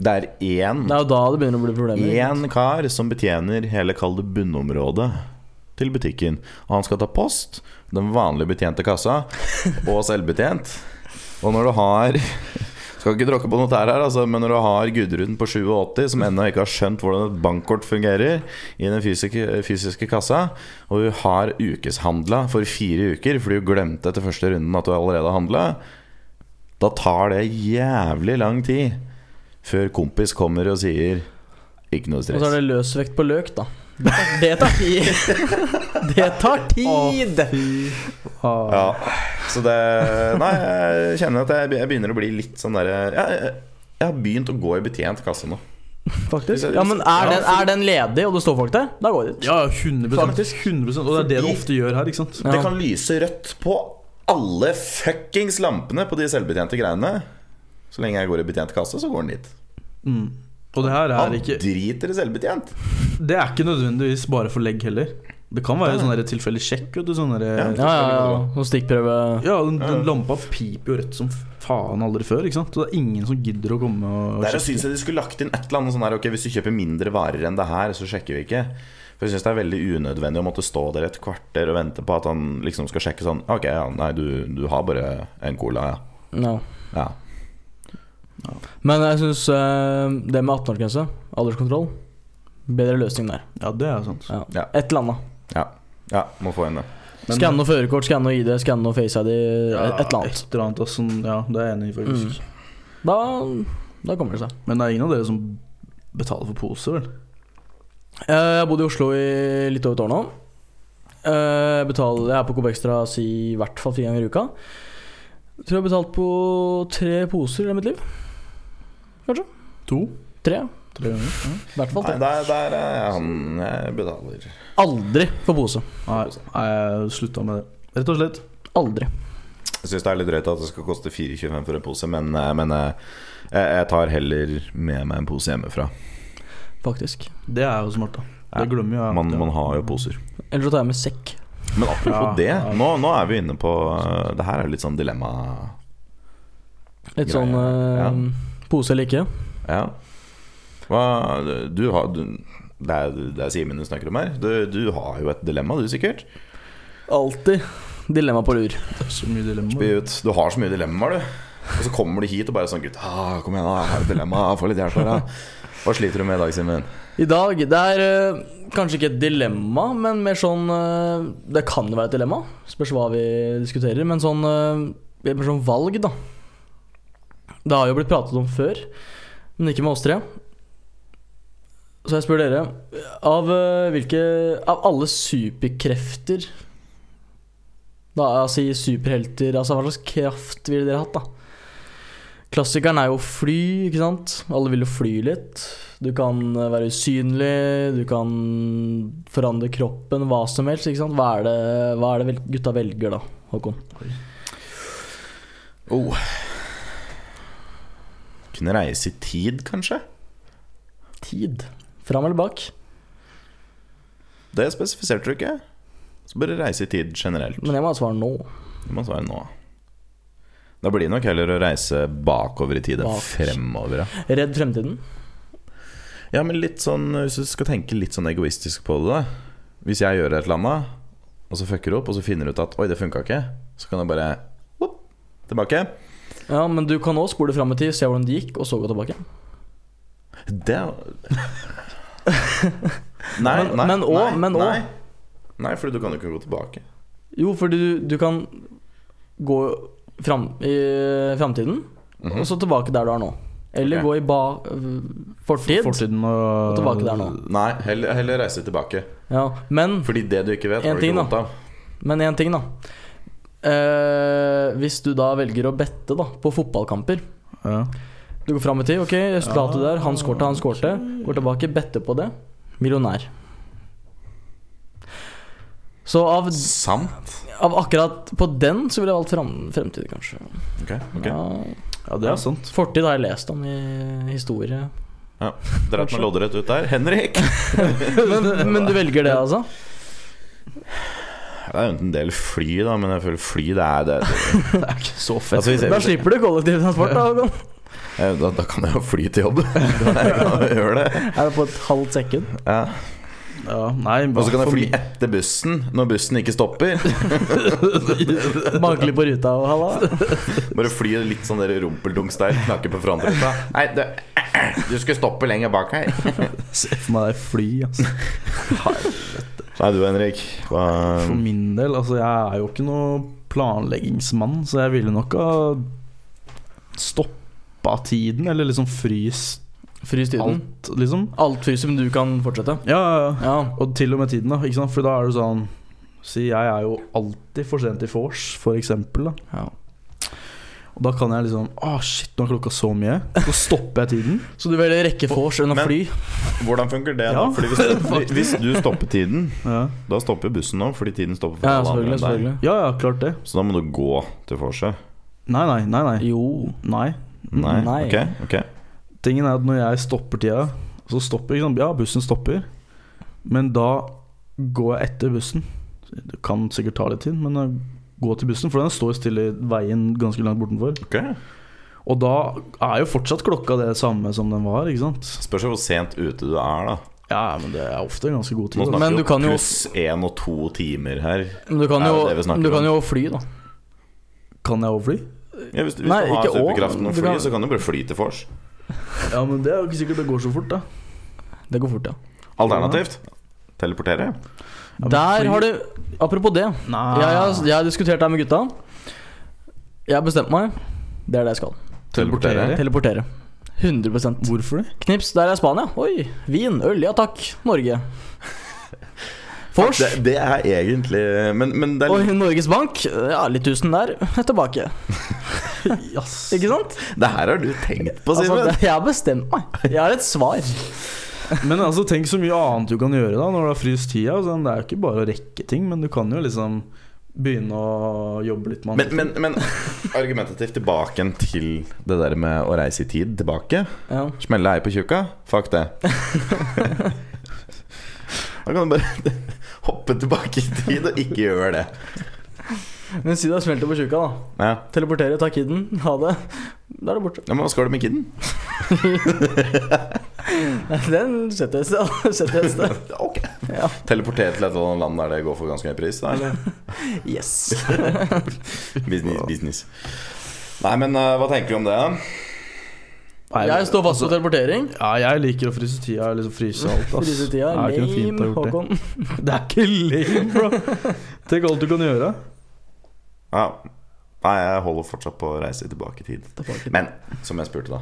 Speaker 2: Det er én
Speaker 3: Det er jo da det begynner å bli problemer.
Speaker 2: Én kar som betjener hele kall det bunnområdet til butikken. Og han skal ta post, den vanlige betjente
Speaker 3: <laughs>
Speaker 2: kassa, og selvbetjent. Og når du har Skal ikke tråkke på noe tær her, altså, men når du har Gudrun på 87 som ennå ikke har skjønt hvordan et bankkort fungerer, i den fysiske, fysiske kassa, og hun har ukeshandla for fire uker fordi hun glemte etter første runden at hun allerede handla, da tar det jævlig lang tid før kompis kommer og sier ikke noe
Speaker 3: Og så
Speaker 2: stress.
Speaker 3: er det løsvekt på løk, <laughs> da. Det tar tid! Det tar tid!
Speaker 4: Ah.
Speaker 2: Ja, så det Nei, jeg kjenner at jeg, jeg begynner å bli litt sånn derre jeg, jeg, jeg har begynt å gå i betjent kasse nå.
Speaker 3: Faktisk. Ja, men er den, er den ledig, og det står folk der, da går det dit.
Speaker 4: Ja, 100
Speaker 3: Faktisk.
Speaker 4: 100 Og det er det du ofte gjør her, ikke sant?
Speaker 3: Ja.
Speaker 2: Det kan lyse rødt på alle fuckings lampene på de selvbetjente greiene. Så lenge jeg går i betjent kasse, så går den dit.
Speaker 4: Og det her
Speaker 2: Han
Speaker 4: er ikke
Speaker 2: driter i selvbetjent.
Speaker 4: Det er ikke nødvendigvis bare for legg heller. Det kan være sånn der tilfeldig sjekk. vet du, sånn der-
Speaker 3: Ja, ja, ja. Sånn stikkprøve
Speaker 4: ja, den, den lampa piper jo rødt som faen aldri før. ikke sant? Så det er ingen som gidder å komme og
Speaker 2: Det er å synes at de skulle lagt inn et eller annet sånn her Ok, hvis du kjøper mindre varer enn det her, så sjekker vi ikke. For jeg syns det er veldig unødvendig å måtte stå der et kvarter og vente på at han liksom skal sjekke sånn Ok, ja, nei, du, du har bare en cola, ja.
Speaker 3: ja.
Speaker 2: ja.
Speaker 3: Men jeg syns det med 18-årsgrense, alderskontroll, bedre løsning der.
Speaker 4: Ja, det er sant.
Speaker 3: Ja.
Speaker 2: Ja.
Speaker 3: Et eller annet.
Speaker 2: Ja, ja må få inn det.
Speaker 4: Men-
Speaker 3: Skanne og førerkort, skanne og ID, skanne og face-ID, et eller annet.
Speaker 4: Et eller annet Mm. altså, ja, det er jeg enig i, faktisk.
Speaker 3: Da, da kommer det seg.
Speaker 4: Men det er ingen av dere som betaler for pose, vel?
Speaker 3: Eh, Jeg har bodd i Oslo i litt over et år nå. Eh, Jeg, betaler, jeg er på Coop Extra si, i hvert fall fire ganger i uka. Jeg tror jeg har betalt på tre poser i mitt liv.
Speaker 4: To?
Speaker 3: Tre.
Speaker 4: Tre ganger? Ja.
Speaker 3: I hvert fall
Speaker 2: Nei,
Speaker 3: tre.
Speaker 2: der, der er han jeg betaler.
Speaker 3: Aldri for pose.
Speaker 4: Nei, altså, nei, jeg slutta med det. Rett og slett.
Speaker 3: Aldri.
Speaker 2: Jeg syns det er litt drøyt at det skal koste 4,25 for en pose, men, eh, men eh, jeg, jeg tar heller med meg en pose hjemmefra.
Speaker 3: Faktisk.
Speaker 4: Det er jo smart, da.
Speaker 2: Ja,
Speaker 4: Det glemmer jo jeg.
Speaker 2: Man, man har jo poser.
Speaker 3: Ellers så tar jeg med sekk.
Speaker 2: Men apropos
Speaker 4: Ja,
Speaker 2: det,
Speaker 4: ja.
Speaker 2: nå, nå er vi inne på eh, Det her er jo litt sånn dilemma.
Speaker 3: Litt
Speaker 2: Greie.
Speaker 3: sånn eh, pose eller ikke.
Speaker 2: Ja. Hva Du har du, det er, det er Simen du snakker om her. Du, du har jo et dilemma, du sikkert.
Speaker 3: Alltid dilemma på lur.
Speaker 4: Det er så mye
Speaker 2: Spy
Speaker 4: dilemmaer.
Speaker 2: ut. Du har så mye dilemmaer, du. Og så kommer du hit og bare sånn Gutt, ah, kom igjen, da. Jeg har et dilemma. Få litt hjelp her, da. Hva sliter du med i dag, Simen?
Speaker 3: I dag Det er eh, kanskje ikke et dilemma, men mer sånn eh, Det kan jo være et dilemma, spørs hva vi diskuterer, men sånn eh, Mer sånn valg, da. Det har jo blitt pratet om før, men ikke med oss tre. Så jeg spør dere Av eh, hvilke Av alle superkrefter Da altså i superhelter Altså hva slags kraft ville dere hatt, da? Klassikeren er jo å fly, ikke sant? Alle vil jo fly litt. Du kan eh, være usynlig, du kan forandre kroppen, hva som helst. ikke sant? Hva er det, hva er det vel, gutta velger, da, Håkon?
Speaker 2: Oh. Kunne reise i tid, kanskje?
Speaker 3: Tid. Fram eller bak?
Speaker 2: Det spesifiserte du ikke. Så bare reise i tid generelt.
Speaker 3: Men jeg må ha et svar nå.
Speaker 2: Det må svare nå. Da blir det nok heller å reise bakover i tid enn
Speaker 3: Bak.
Speaker 2: fremover. Ja.
Speaker 3: Redd fremtiden?
Speaker 2: ja, men litt sånn Hvis du skal tenke litt sånn egoistisk på det, da. Hvis jeg gjør et eller annet, og så fucker opp, og så finner du ut at 'oi, det funka ikke', så kan jeg bare whoop, tilbake.
Speaker 3: Ja, men du kan også spole fram i tid, se hvordan det gikk, og så gå tilbake.
Speaker 2: Det
Speaker 3: <laughs>
Speaker 2: Nei,
Speaker 3: Men-
Speaker 2: nei.
Speaker 3: men og-
Speaker 2: nei,
Speaker 3: men og-
Speaker 2: nei. Nei, for du kan jo ikke gå tilbake.
Speaker 3: Jo, fordi du, du kan gå fram i framtiden, og så tilbake der du er nå. Eller
Speaker 2: Ok.
Speaker 3: gå i ba eh, fortid.
Speaker 4: Fortiden og
Speaker 3: Og tilbake der nå.
Speaker 2: Nei, heller, heller reise tilbake.
Speaker 3: Ja, men
Speaker 2: Fordi det du ikke vet,
Speaker 3: En
Speaker 2: har du ikke
Speaker 3: ting, da.
Speaker 2: vondt av.
Speaker 3: Men én ting, da. Eh, hvis du da velger å bette da på fotballkamper
Speaker 4: Ja.
Speaker 3: Du går fram i tid. Ok, resultatet der. Han skårte, han skårte. Går tilbake, better på det. Millionær. Så av,
Speaker 2: Sant.
Speaker 3: av akkurat på den så ville jeg valgt fram, fremtid, kanskje.
Speaker 2: Ok, ok
Speaker 3: Ja,
Speaker 4: ja, det er sant.
Speaker 3: fortid har jeg lest om i <laughs> historie.
Speaker 2: ja. Dreit meg loddrett ut der. Henrik!
Speaker 3: Men, men du velger det, altså?
Speaker 2: Det er jo enten en del fly, da, men jeg føler fly det er det.
Speaker 4: <laughs> Det er ikke så fett.
Speaker 2: Altså, hvis jeg,
Speaker 3: Da slipper du kollektivtransport, da. Håkon.
Speaker 2: Eh, da, da kan jeg jo fly til jobb. <laughs> Jeg kan jo gjøre det.
Speaker 3: <laughs> Er det på et halvt sekund?
Speaker 2: Ja.
Speaker 4: Ja, nei,
Speaker 2: Og så kan jeg
Speaker 4: for
Speaker 2: fly
Speaker 4: min- <laughs>
Speaker 2: etter bussen, når bussen ikke stopper.
Speaker 3: Banker litt på ruta og halla?
Speaker 2: Bare fly litt sånn der rumpeldunks der, knakke på frontruta. Nei, du, du skulle stoppe lenger bak her.
Speaker 4: Se for meg det fly, altså.
Speaker 2: Nei, du Henrik. Hva,
Speaker 4: For min del, altså jeg er jo ikke noe planleggingsmann, så jeg ville nok ha stoppa tiden, eller liksom fryst
Speaker 3: Frys tiden.
Speaker 4: alt, liksom.
Speaker 3: Alt fryser, men du kan fortsette?
Speaker 4: Ja, ja, ja.
Speaker 3: Ja.
Speaker 4: Og til og med tiden, da. Ikke sant? For da er du sånn Si jeg er jo alltid for sent i vors, for eksempel. Da.
Speaker 3: ja.
Speaker 4: Og da kan jeg liksom Å, shit, nå er klokka så mye. Så stopper jeg tiden.
Speaker 3: Så du velger rekke vors enn å
Speaker 2: Men-
Speaker 3: fly?
Speaker 2: hvordan funker det?
Speaker 4: Ja,
Speaker 2: da? Fordi hvis, hvis du stopper tiden,
Speaker 4: Ja,
Speaker 2: da stopper bussen nå, fordi tiden stopper for
Speaker 3: Ja,
Speaker 2: alle andre enn
Speaker 3: selvfølgelig.
Speaker 2: deg.
Speaker 3: selvfølgelig
Speaker 4: ja, ja klart det.
Speaker 2: Så da må du gå til vorset?
Speaker 4: Nei, nei, nei. nei.
Speaker 3: Jo.
Speaker 4: nei.
Speaker 2: Nei?
Speaker 3: Nei.
Speaker 2: Ok. ok
Speaker 4: Tingen er at når jeg stopper tida, så stopper ikke sant? Ja, bussen stopper. Men da går jeg etter bussen. Det kan sikkert ta litt tid, men jeg går til bussen, for den står stille i veien ganske langt bortenfor.
Speaker 2: ok
Speaker 4: Og da er jo fortsatt klokka det samme som den var, ikke sant?
Speaker 2: Spørs jo hvor sent ute du er, da.
Speaker 4: Ja, men det er ofte ganske
Speaker 2: Nå
Speaker 4: god tid.
Speaker 2: snakker
Speaker 3: Men
Speaker 2: vi
Speaker 3: du kan
Speaker 2: om
Speaker 3: jo-
Speaker 2: pluss én og to timer her.
Speaker 3: Men du kan
Speaker 2: Det er
Speaker 3: jo,
Speaker 2: jo det vi snakker
Speaker 3: du
Speaker 2: om.
Speaker 3: kan jo fly, da.
Speaker 4: Kan jeg overfly?
Speaker 2: Ja, hvis du, hvis
Speaker 3: Nei,
Speaker 2: du har
Speaker 3: ikke å,
Speaker 2: superkraften å
Speaker 3: du
Speaker 2: fly,
Speaker 3: kan-
Speaker 2: så kan du bare fly til vors.
Speaker 4: Ja, men det er jo ikke sikkert det går så fort, da.
Speaker 3: Det går fort, ja.
Speaker 2: Alternativt teleportere.
Speaker 4: Ja, men
Speaker 3: Der
Speaker 4: fly-
Speaker 3: har du Apropos det.
Speaker 4: Nei.
Speaker 3: Jeg, har- jeg har diskutert det her med gutta. Jeg har bestemt meg. Det er det jeg skal.
Speaker 4: Teleportere.
Speaker 3: Teleportere. 100
Speaker 4: Hvorfor det?
Speaker 3: Knips, der er Spania. Oi. Vin, øl, ja takk.
Speaker 2: <laughs>
Speaker 3: Norge. Fors.
Speaker 2: Det, det er egentlig Men, men det er
Speaker 3: Og Norges Bank. Ja, litt tusen der. <laughs> Tilbake.
Speaker 4: Yes.
Speaker 3: Ikke sant?
Speaker 2: Det her har du tenkt på,
Speaker 3: Altså,
Speaker 2: Simen.
Speaker 3: det, jeg har bestemt meg. Jeg har et svar.
Speaker 4: Men altså, tenk så mye annet du kan gjøre da når du har fryst tida. og Sånn. Det er jo ikke bare å rekke ting, men du kan jo liksom begynne å jobbe litt med
Speaker 2: men,
Speaker 4: andre
Speaker 2: men, men argumentativt tilbake igjen til det der med å reise i tid tilbake. <laughs>
Speaker 3: Ja. <laughs>
Speaker 2: Smelle ei på tjukka. Fuck det. Da kan du bare <laughs> hoppe tilbake i tid og ikke gjøre det.
Speaker 3: Men si du har smelt det på tjukka, da.
Speaker 2: Ja.
Speaker 3: Teleportere, ta kiden, ha det. Da er det borte.
Speaker 2: Ja, men hva skal du med kiden?
Speaker 3: Den setter jeg et sted. <laughs> Setter jeg et sted.
Speaker 2: <laughs> Ok
Speaker 3: Ja.
Speaker 2: Teleportere til et eller annet land der det går for ganske høy pris? Da, <laughs> eller?
Speaker 3: Yes.
Speaker 2: Business, business. Nei, men eh, hva tenker du om det? da?
Speaker 4: Nei,
Speaker 3: Jeg står fast på teleportering.
Speaker 4: Ja, jeg liker å fryse tida. Liksom fryse alt, ass.
Speaker 3: Frysetida,
Speaker 4: Det er ikke noe fint å
Speaker 3: lame,
Speaker 4: ha gjort det.
Speaker 3: Håkon.
Speaker 4: <laughs> Det er ikke lame, bro. Tenk alt du kan gjøre.
Speaker 2: Ja. Nei, jeg holder fortsatt på å reise tilbake i tid.
Speaker 3: Tilbake.
Speaker 2: Men som jeg spurte, da.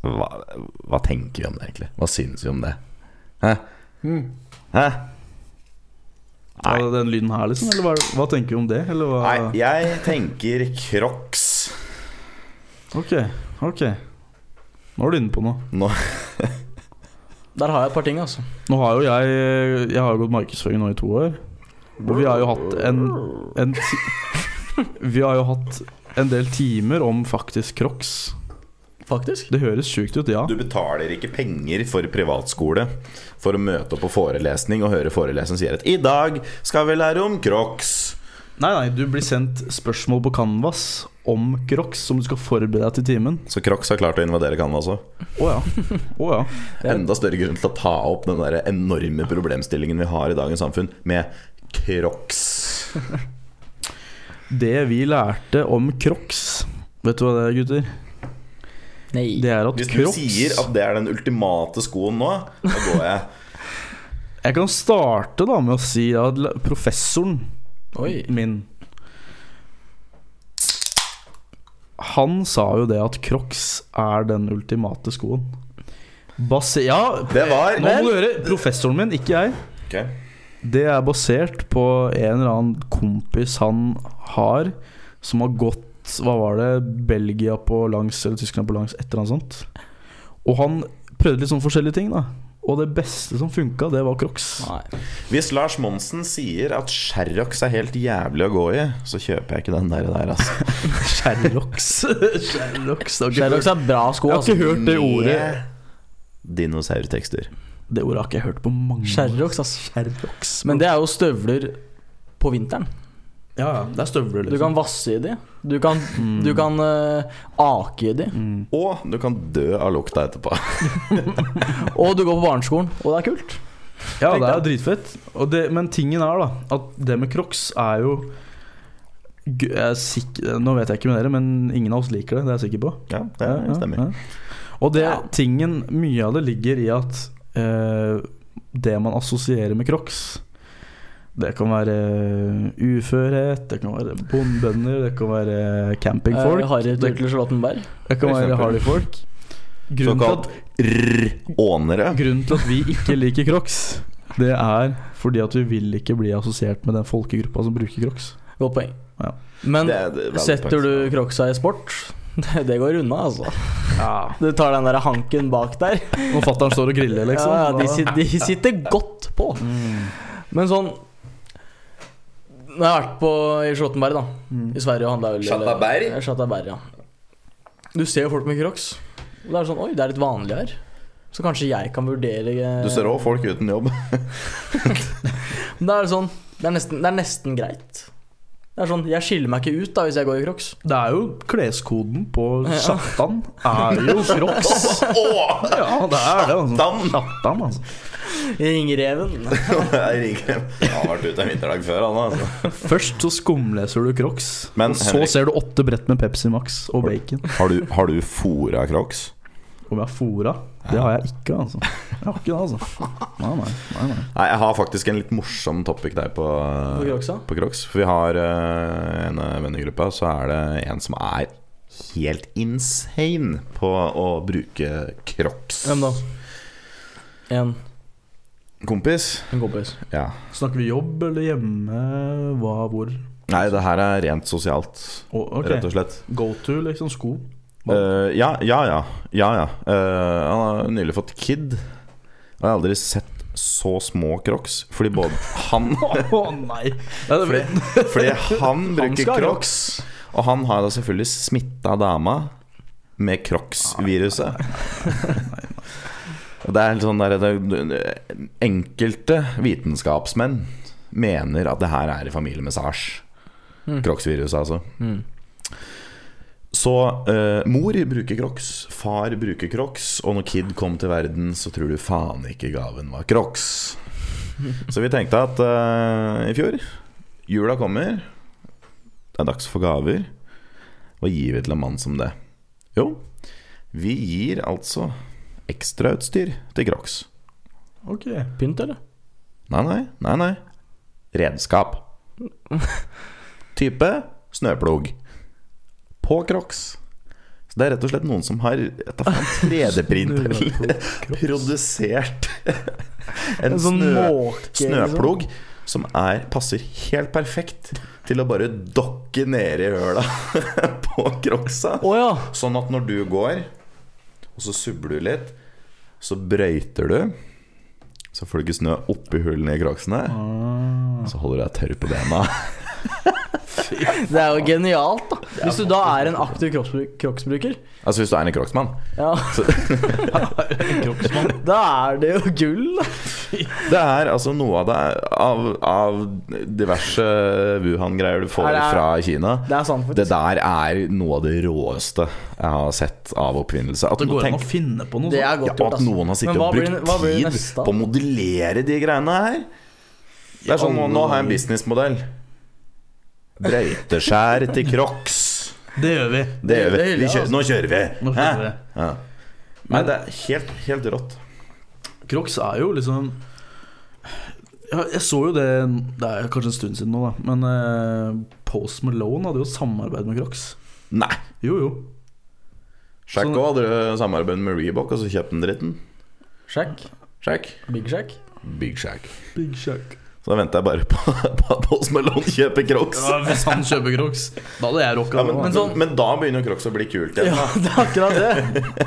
Speaker 2: Hva, hva tenker vi om det, egentlig? Hva syns vi om det? Hæ?
Speaker 3: Hmm.
Speaker 2: Hæ? Nei.
Speaker 4: Ja, den lyden her, liksom. Eller hva, hva tenker vi om det? Eller hva?
Speaker 2: Nei, jeg tenker Crocs.
Speaker 4: Ok, ok. Nå er du inne på noe.
Speaker 2: Nå,
Speaker 3: Der har jeg et par ting, altså.
Speaker 4: Nå har jo jeg Jeg har jo gått markedsføring nå i to år. Og vi har jo hatt en, en ti <laughs> Vi har jo hatt en del timer om faktisk crocs.
Speaker 3: Faktisk.
Speaker 4: Det høres sjukt ut, ja.
Speaker 2: du betaler ikke penger for privatskole for å møte opp på forelesning og høre foreleseren sier at 'i dag skal vi lære om Crocs'.
Speaker 4: Nei, nei, du blir sendt spørsmål på canvas om crocs som du skal forberede deg til timen.
Speaker 2: Så Crocs har klart å invadere Canvas også.
Speaker 4: Å ja. Å ja.
Speaker 2: Enda større grunn til å ta opp den der enorme problemstillingen vi har i dagens samfunn med Crocs.
Speaker 4: Det vi lærte om crocs Vet du hva det er, gutter?
Speaker 3: Nei.
Speaker 4: Det er at
Speaker 2: Hvis du
Speaker 4: crocs
Speaker 2: sier at det er den ultimate skoen nå, da går jeg.
Speaker 4: Jeg kan starte da med å si at la- professoren
Speaker 3: Oi.
Speaker 4: min Han sa jo det at crocs er den ultimate skoen. Base ja,
Speaker 2: Det var
Speaker 4: nå må du høre! Professoren min, ikke jeg.
Speaker 2: Ok.
Speaker 4: Det er basert på en eller annen kompis han har, som har gått Hva var det? Belgia på langs, eller Tyskland på langs, et eller annet sånt. Og han prøvde litt sånn forskjellige ting, da. Og det beste som funka, det var crocs.
Speaker 3: Nei.
Speaker 2: Hvis Lars Monsen sier at Sherrox er helt jævlig å gå i, så kjøper jeg ikke den der, der altså.
Speaker 4: Sherlocks. <laughs> Sherlocks. det har ikke
Speaker 3: Sherlocks er bra sko,
Speaker 4: <laughs> Jeg har
Speaker 3: altså.
Speaker 4: ikke hørt det ordet.
Speaker 2: Med Dinosaurtekster.
Speaker 4: Det ordet har ikke jeg hørt på mange år.
Speaker 3: Sherrocks, altså.
Speaker 4: Sherlocks.
Speaker 3: Men det er jo støvler på vinteren.
Speaker 4: Ja, ja, det er støvler,
Speaker 3: Du kan
Speaker 4: liksom.
Speaker 3: vasse i de. Du kan,
Speaker 4: Hmm.
Speaker 3: du kan eh, ake i de.
Speaker 4: Mm.
Speaker 2: Og du kan dø av lukta etterpå.
Speaker 3: Og du går på barneskolen, og det er kult.
Speaker 4: Ja, det er dritfett. Og det, men tingen er da at det med crocs er jo Gu- jeg er sikker, Nå vet jeg ikke med dere, men ingen av oss liker det. Det er jeg sikker på.
Speaker 2: Ja, det
Speaker 4: Ja,
Speaker 2: stemmer.
Speaker 4: ja. Og det
Speaker 3: Ja.
Speaker 4: tingen, mye av det ligger i at eh, det man assosierer med crocs Det kan være eh, uførhet, det kan være bondebønder, det kan være
Speaker 3: Eh,
Speaker 4: campingfolk,
Speaker 3: Harry
Speaker 4: det,
Speaker 3: Turtle Charlottenberg.
Speaker 4: det kan
Speaker 2: for
Speaker 4: være
Speaker 2: eksempel.
Speaker 4: hardyfolk. Grunnen til,
Speaker 2: Såkalt
Speaker 4: at,
Speaker 2: rr-ånere.
Speaker 4: grunnen til at vi ikke liker crocs, det er fordi at vi vil ikke bli assosiert med den folkegruppa som bruker crocs.
Speaker 3: Godt poeng.
Speaker 4: Ja.
Speaker 3: Men
Speaker 2: Det er- det er veldig
Speaker 3: setter
Speaker 2: poeng.
Speaker 3: du crocsa i sport, <laughs> det, det går unna, altså.
Speaker 4: Ja.
Speaker 3: Du tar den der hanken bak der.
Speaker 4: Når fatter'n står og griller, liksom.
Speaker 3: Ja, ja, de,
Speaker 4: da-
Speaker 3: sit- de sitter godt på. Men sånn Når jeg har vært på, i Charlottenberg, da. I Sverige og handla øl. eller-
Speaker 2: Charlottenberg?
Speaker 3: Ja, Charlottenberg, ja. Du ser jo folk med crocs. Og det er sånn Oi, det er litt vanlig her. Så kanskje jeg kan vurdere eh,
Speaker 2: Du ser òg folk uten jobb.
Speaker 3: Men Da er det sånn det er, nesten, det er nesten greit. Det er sånn, Jeg skiller meg ikke ut da hvis jeg går i crocs.
Speaker 4: Det er jo kleskoden på Satan er jo
Speaker 2: <laughs>
Speaker 4: crocs.
Speaker 2: Åh!
Speaker 4: Ja, det er det. Altså.
Speaker 2: Satan!
Speaker 4: Satan, altså.
Speaker 3: Ringreven.
Speaker 2: Jeg ringer. Han har vært ute en vinterdag før, han altså.
Speaker 4: Først så skumleser du crocs,
Speaker 2: Men,
Speaker 4: og så
Speaker 2: Henrik-
Speaker 4: ser du åtte brett med Pepsi Max og bacon.
Speaker 2: Har du, har du fora crocs?
Speaker 4: Om jeg har fora? Det har jeg ikke, altså. Jeg har ikke det, altså. Nei, nei. nei, nei.
Speaker 2: Nei, jeg har faktisk en litt morsom topic der på,
Speaker 3: På Crocsa?
Speaker 2: på Crocs. For vi har eh, en eh, venn i gruppa, så er det en som er helt insane på å bruke Crocs.
Speaker 3: Hvem da? En,
Speaker 2: Kompis?
Speaker 3: en kompis.
Speaker 2: Ja.
Speaker 4: Snakker vi jobb eller hjemme? Hva, hvor?
Speaker 2: Nei, det her er rent sosialt,
Speaker 4: Å, ok.
Speaker 2: rett og slett.
Speaker 4: Go to, liksom.
Speaker 2: <laughs>
Speaker 4: Sko.
Speaker 2: Eh, ja, ja, ja. ja, ja. Eh, han har nylig fått kid. Og jeg har aldri sett så små crocs. Fordi både han
Speaker 4: Å nei! Ja, det
Speaker 2: Fordi, fordi
Speaker 4: <laughs>
Speaker 2: han bruker
Speaker 4: skal ha
Speaker 2: crocs. Og han har da selvfølgelig smitta dama med crocs-viruset. <laughs> Og det er litt sånn der, det, Enkelte vitenskapsmenn mener at det her er i familie med sars. Crocs-viruset, altså.
Speaker 3: Mm.
Speaker 2: Så eh, mor bruker crocs, far bruker crocs, og når kid kom til verden, så tror du faen ikke gaven var crocs. Så vi tenkte at eh, i fjor Jula kommer. Det er dags for gaver. Hva gir vi til en mann som det? Jo, vi gir altså ekstrautstyr til Crocs.
Speaker 4: Ok.
Speaker 3: Pynt, eller?
Speaker 2: Nei, nei, nei, nei. Redskap. Type snøplog. På Crocs. Så det er rett og slett noen som har jeg tar faen,
Speaker 3: <laughs>
Speaker 2: 3D-print eller produsert en,
Speaker 3: En sånn
Speaker 2: snø,
Speaker 3: måke,
Speaker 2: snøplog som er, passer helt perfekt til å bare dokke nede i høla <laughs> på Crocsa.
Speaker 3: Å ja.
Speaker 2: Sånn at når du går, og så subber du litt, så brøyter du. Så får du ikke snø oppi hullene i crocsene.
Speaker 4: Ah.
Speaker 2: Så holder du deg tørr på bena.
Speaker 3: Det er jo genialt, da. Hvis du da er en aktiv crocsbru- crocsbruker,
Speaker 2: Altså hvis du er en crocsmann.
Speaker 3: ja,
Speaker 2: Så
Speaker 3: <laughs> da er det jo gull. da.
Speaker 2: det er altså noe av det av, av diverse Wuhan-greier du får
Speaker 3: Er det-
Speaker 2: fra Kina.
Speaker 3: Det er sant,
Speaker 2: Det
Speaker 3: faktisk.
Speaker 2: der er noe av det råeste jeg har sett av oppfinnelse. At,
Speaker 4: Det
Speaker 2: noen
Speaker 4: går an å
Speaker 2: tenk-
Speaker 4: finne på noe
Speaker 3: Det er
Speaker 4: sånt.
Speaker 2: ja,
Speaker 3: godt gjort,
Speaker 2: at
Speaker 3: altså.
Speaker 2: noen har sittet
Speaker 3: Men hva
Speaker 2: og
Speaker 3: blir- hva
Speaker 2: brukt
Speaker 3: blir det
Speaker 2: tid
Speaker 3: neste, da?
Speaker 2: på å modellere de greiene her. Det er sånn, nå, nå har jeg en businessmodell. Brøyteskjær til Crocs.
Speaker 4: Det gjør vi.
Speaker 2: Det gjør vi.
Speaker 3: Det hyller
Speaker 2: vi
Speaker 3: jeg, altså.
Speaker 2: kjører, nå kjører vi!
Speaker 4: Nå
Speaker 2: Hæ?
Speaker 4: skjønner vi.
Speaker 2: Ja. Nei, det er helt, helt rått.
Speaker 4: Crocs er jo liksom ja, Jeg så jo det Det er kanskje en stund siden nå, da. Men eh, Post Malone hadde jo samarbeid med Crocs.
Speaker 2: Nei.
Speaker 4: Jo, jo.
Speaker 2: Sjekk
Speaker 4: Sånn-
Speaker 2: òg hadde du samarbeid med Reebok, og så kjøpte den dritten.
Speaker 3: Shack.
Speaker 2: Sjekk.
Speaker 3: Big Shack.
Speaker 2: Big Shack.
Speaker 4: Big Shack.
Speaker 2: Så da venter jeg bare på <laughs> på at Post Malone kjøper Crocs.
Speaker 4: Ja, hvis han kjøper Crocs, da hadde jeg rocka
Speaker 2: Ja, men, men,
Speaker 3: sånn-
Speaker 2: men da begynner Crocs å bli kult igjen.
Speaker 3: Ja,
Speaker 2: da.
Speaker 3: det er akkurat det.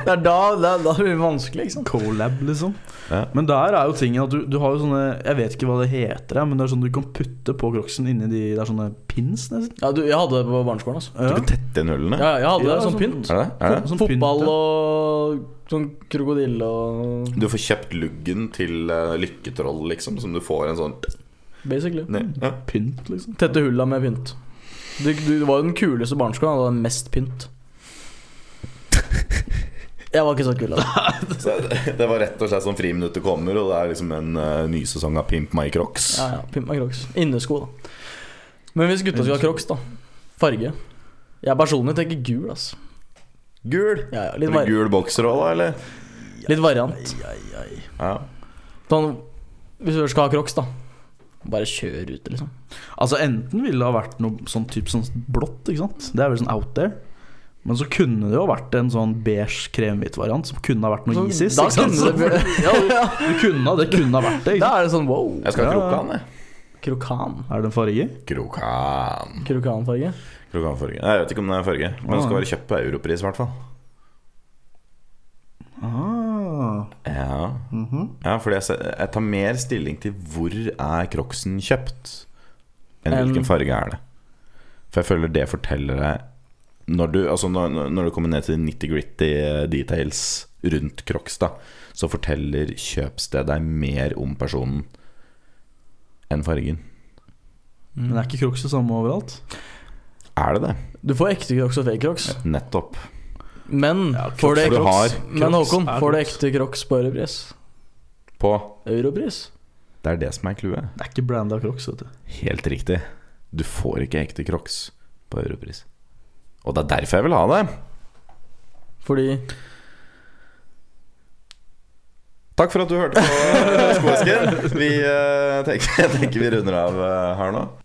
Speaker 3: Det er da, det er, da blir det vanskelig, liksom.
Speaker 4: Colab, liksom.
Speaker 2: Ja.
Speaker 4: Men der er jo tingen at du, du har jo sånne Jeg vet ikke hva det heter, men det er sånn du kan putte på Crocsen inni de Det er sånne pins, nesten.
Speaker 3: Ja, du, jeg hadde det på barneskolen, altså.
Speaker 2: Du
Speaker 4: Ja.
Speaker 2: kan tette igjen hullene.
Speaker 3: Ja, jeg hadde
Speaker 4: Ja,
Speaker 3: det som
Speaker 4: sånn-
Speaker 3: pynt.
Speaker 2: Er det? Er det?
Speaker 4: Sånn pynt,
Speaker 3: Fotball
Speaker 4: ja.
Speaker 3: og sånn krokodille og
Speaker 2: Du får kjøpt luggen til eh, lykketroll, liksom, som du får en sånn
Speaker 3: Basically.
Speaker 2: ned. Ja.
Speaker 4: Pynt, liksom.
Speaker 3: Tette hulla med pynt. Du, du, du var jo den kuleste barneskolen, og hadde mest pynt. Jeg var ikke så kul, altså.
Speaker 2: Så det- det var rett og slett sånn friminuttet kommer, og det er liksom en eh, ny sesong av Pimp my Crocs.
Speaker 3: Ja, ja, Pynt meg crocs. Innesko, da. Men hvis gutta skal ha crocs, da. Farge. Jeg personlig tenker gul, altså.
Speaker 2: Gul.
Speaker 3: Ja, ja, litt,
Speaker 2: Eller
Speaker 3: var
Speaker 2: gul bokser òg, da, eller?
Speaker 3: litt variant.
Speaker 2: Ja.
Speaker 3: Sånn, hvis du skal ha crocs, da. Bare kjør ut, liksom.
Speaker 4: Altså Enten ville det ha vært noe sånn typ sånn blått, ikke sant? Det er vel sånn out there. Men så kunne det jo ha vært en sånn beige kremhvit variant som kunne ha vært noe
Speaker 3: Så Sånn,
Speaker 4: ISIS.
Speaker 3: da
Speaker 4: ikke sant?
Speaker 3: kunne det bli-
Speaker 4: ja, <laughs> det kunne, ha- det kunne ha vært det. Ikke
Speaker 3: Da
Speaker 4: sant?
Speaker 3: er det sånn wow.
Speaker 2: Jeg skal ha
Speaker 4: Ja.
Speaker 2: krokan, jeg.
Speaker 3: Krokan.
Speaker 4: Er det en farge?
Speaker 2: Krokan.
Speaker 3: Krokanfarge.
Speaker 2: Krokanfarge. Nei, Jeg vet ikke om det er farge, men det skal være kjøpt på europris, i hvert fall.
Speaker 4: Ah.
Speaker 2: Ja.
Speaker 3: mhm.
Speaker 2: ja fordi jeg, ser- jeg tar mer stilling til hvor er Crocsen kjøpt, enn
Speaker 3: Enn-
Speaker 2: hvilken farge er det. For jeg føler det forteller deg Når du, altså når, når- når du kommer ned til nitty-gritty eh, details rundt Crocs, da, så forteller kjøpstedet deg mer om personen enn fargen.
Speaker 4: Men er ikke Crocs det samme overalt?
Speaker 2: Er det det?
Speaker 3: Du får ekte crocs og fake crocs.
Speaker 2: Nettopp.
Speaker 3: Men
Speaker 4: Ja, crocs
Speaker 3: får du
Speaker 2: du
Speaker 3: ekte
Speaker 2: har.
Speaker 3: Men
Speaker 4: Crocs
Speaker 3: Håkon,
Speaker 4: er
Speaker 3: får du
Speaker 4: crocs.
Speaker 3: ekte crocs på europris?
Speaker 2: På
Speaker 3: Europris?
Speaker 2: Det er det som er clouet.
Speaker 4: Det er ikke branda Crocs, vet du.
Speaker 2: Helt riktig. Du får ikke ekte Crocs på europris. Og det er derfor jeg vil ha det.
Speaker 3: Fordi
Speaker 2: Takk <laughs> for at du hørte på Skoesken. Vi eh, tenker, jeg tenker vi runder av eh, her nå.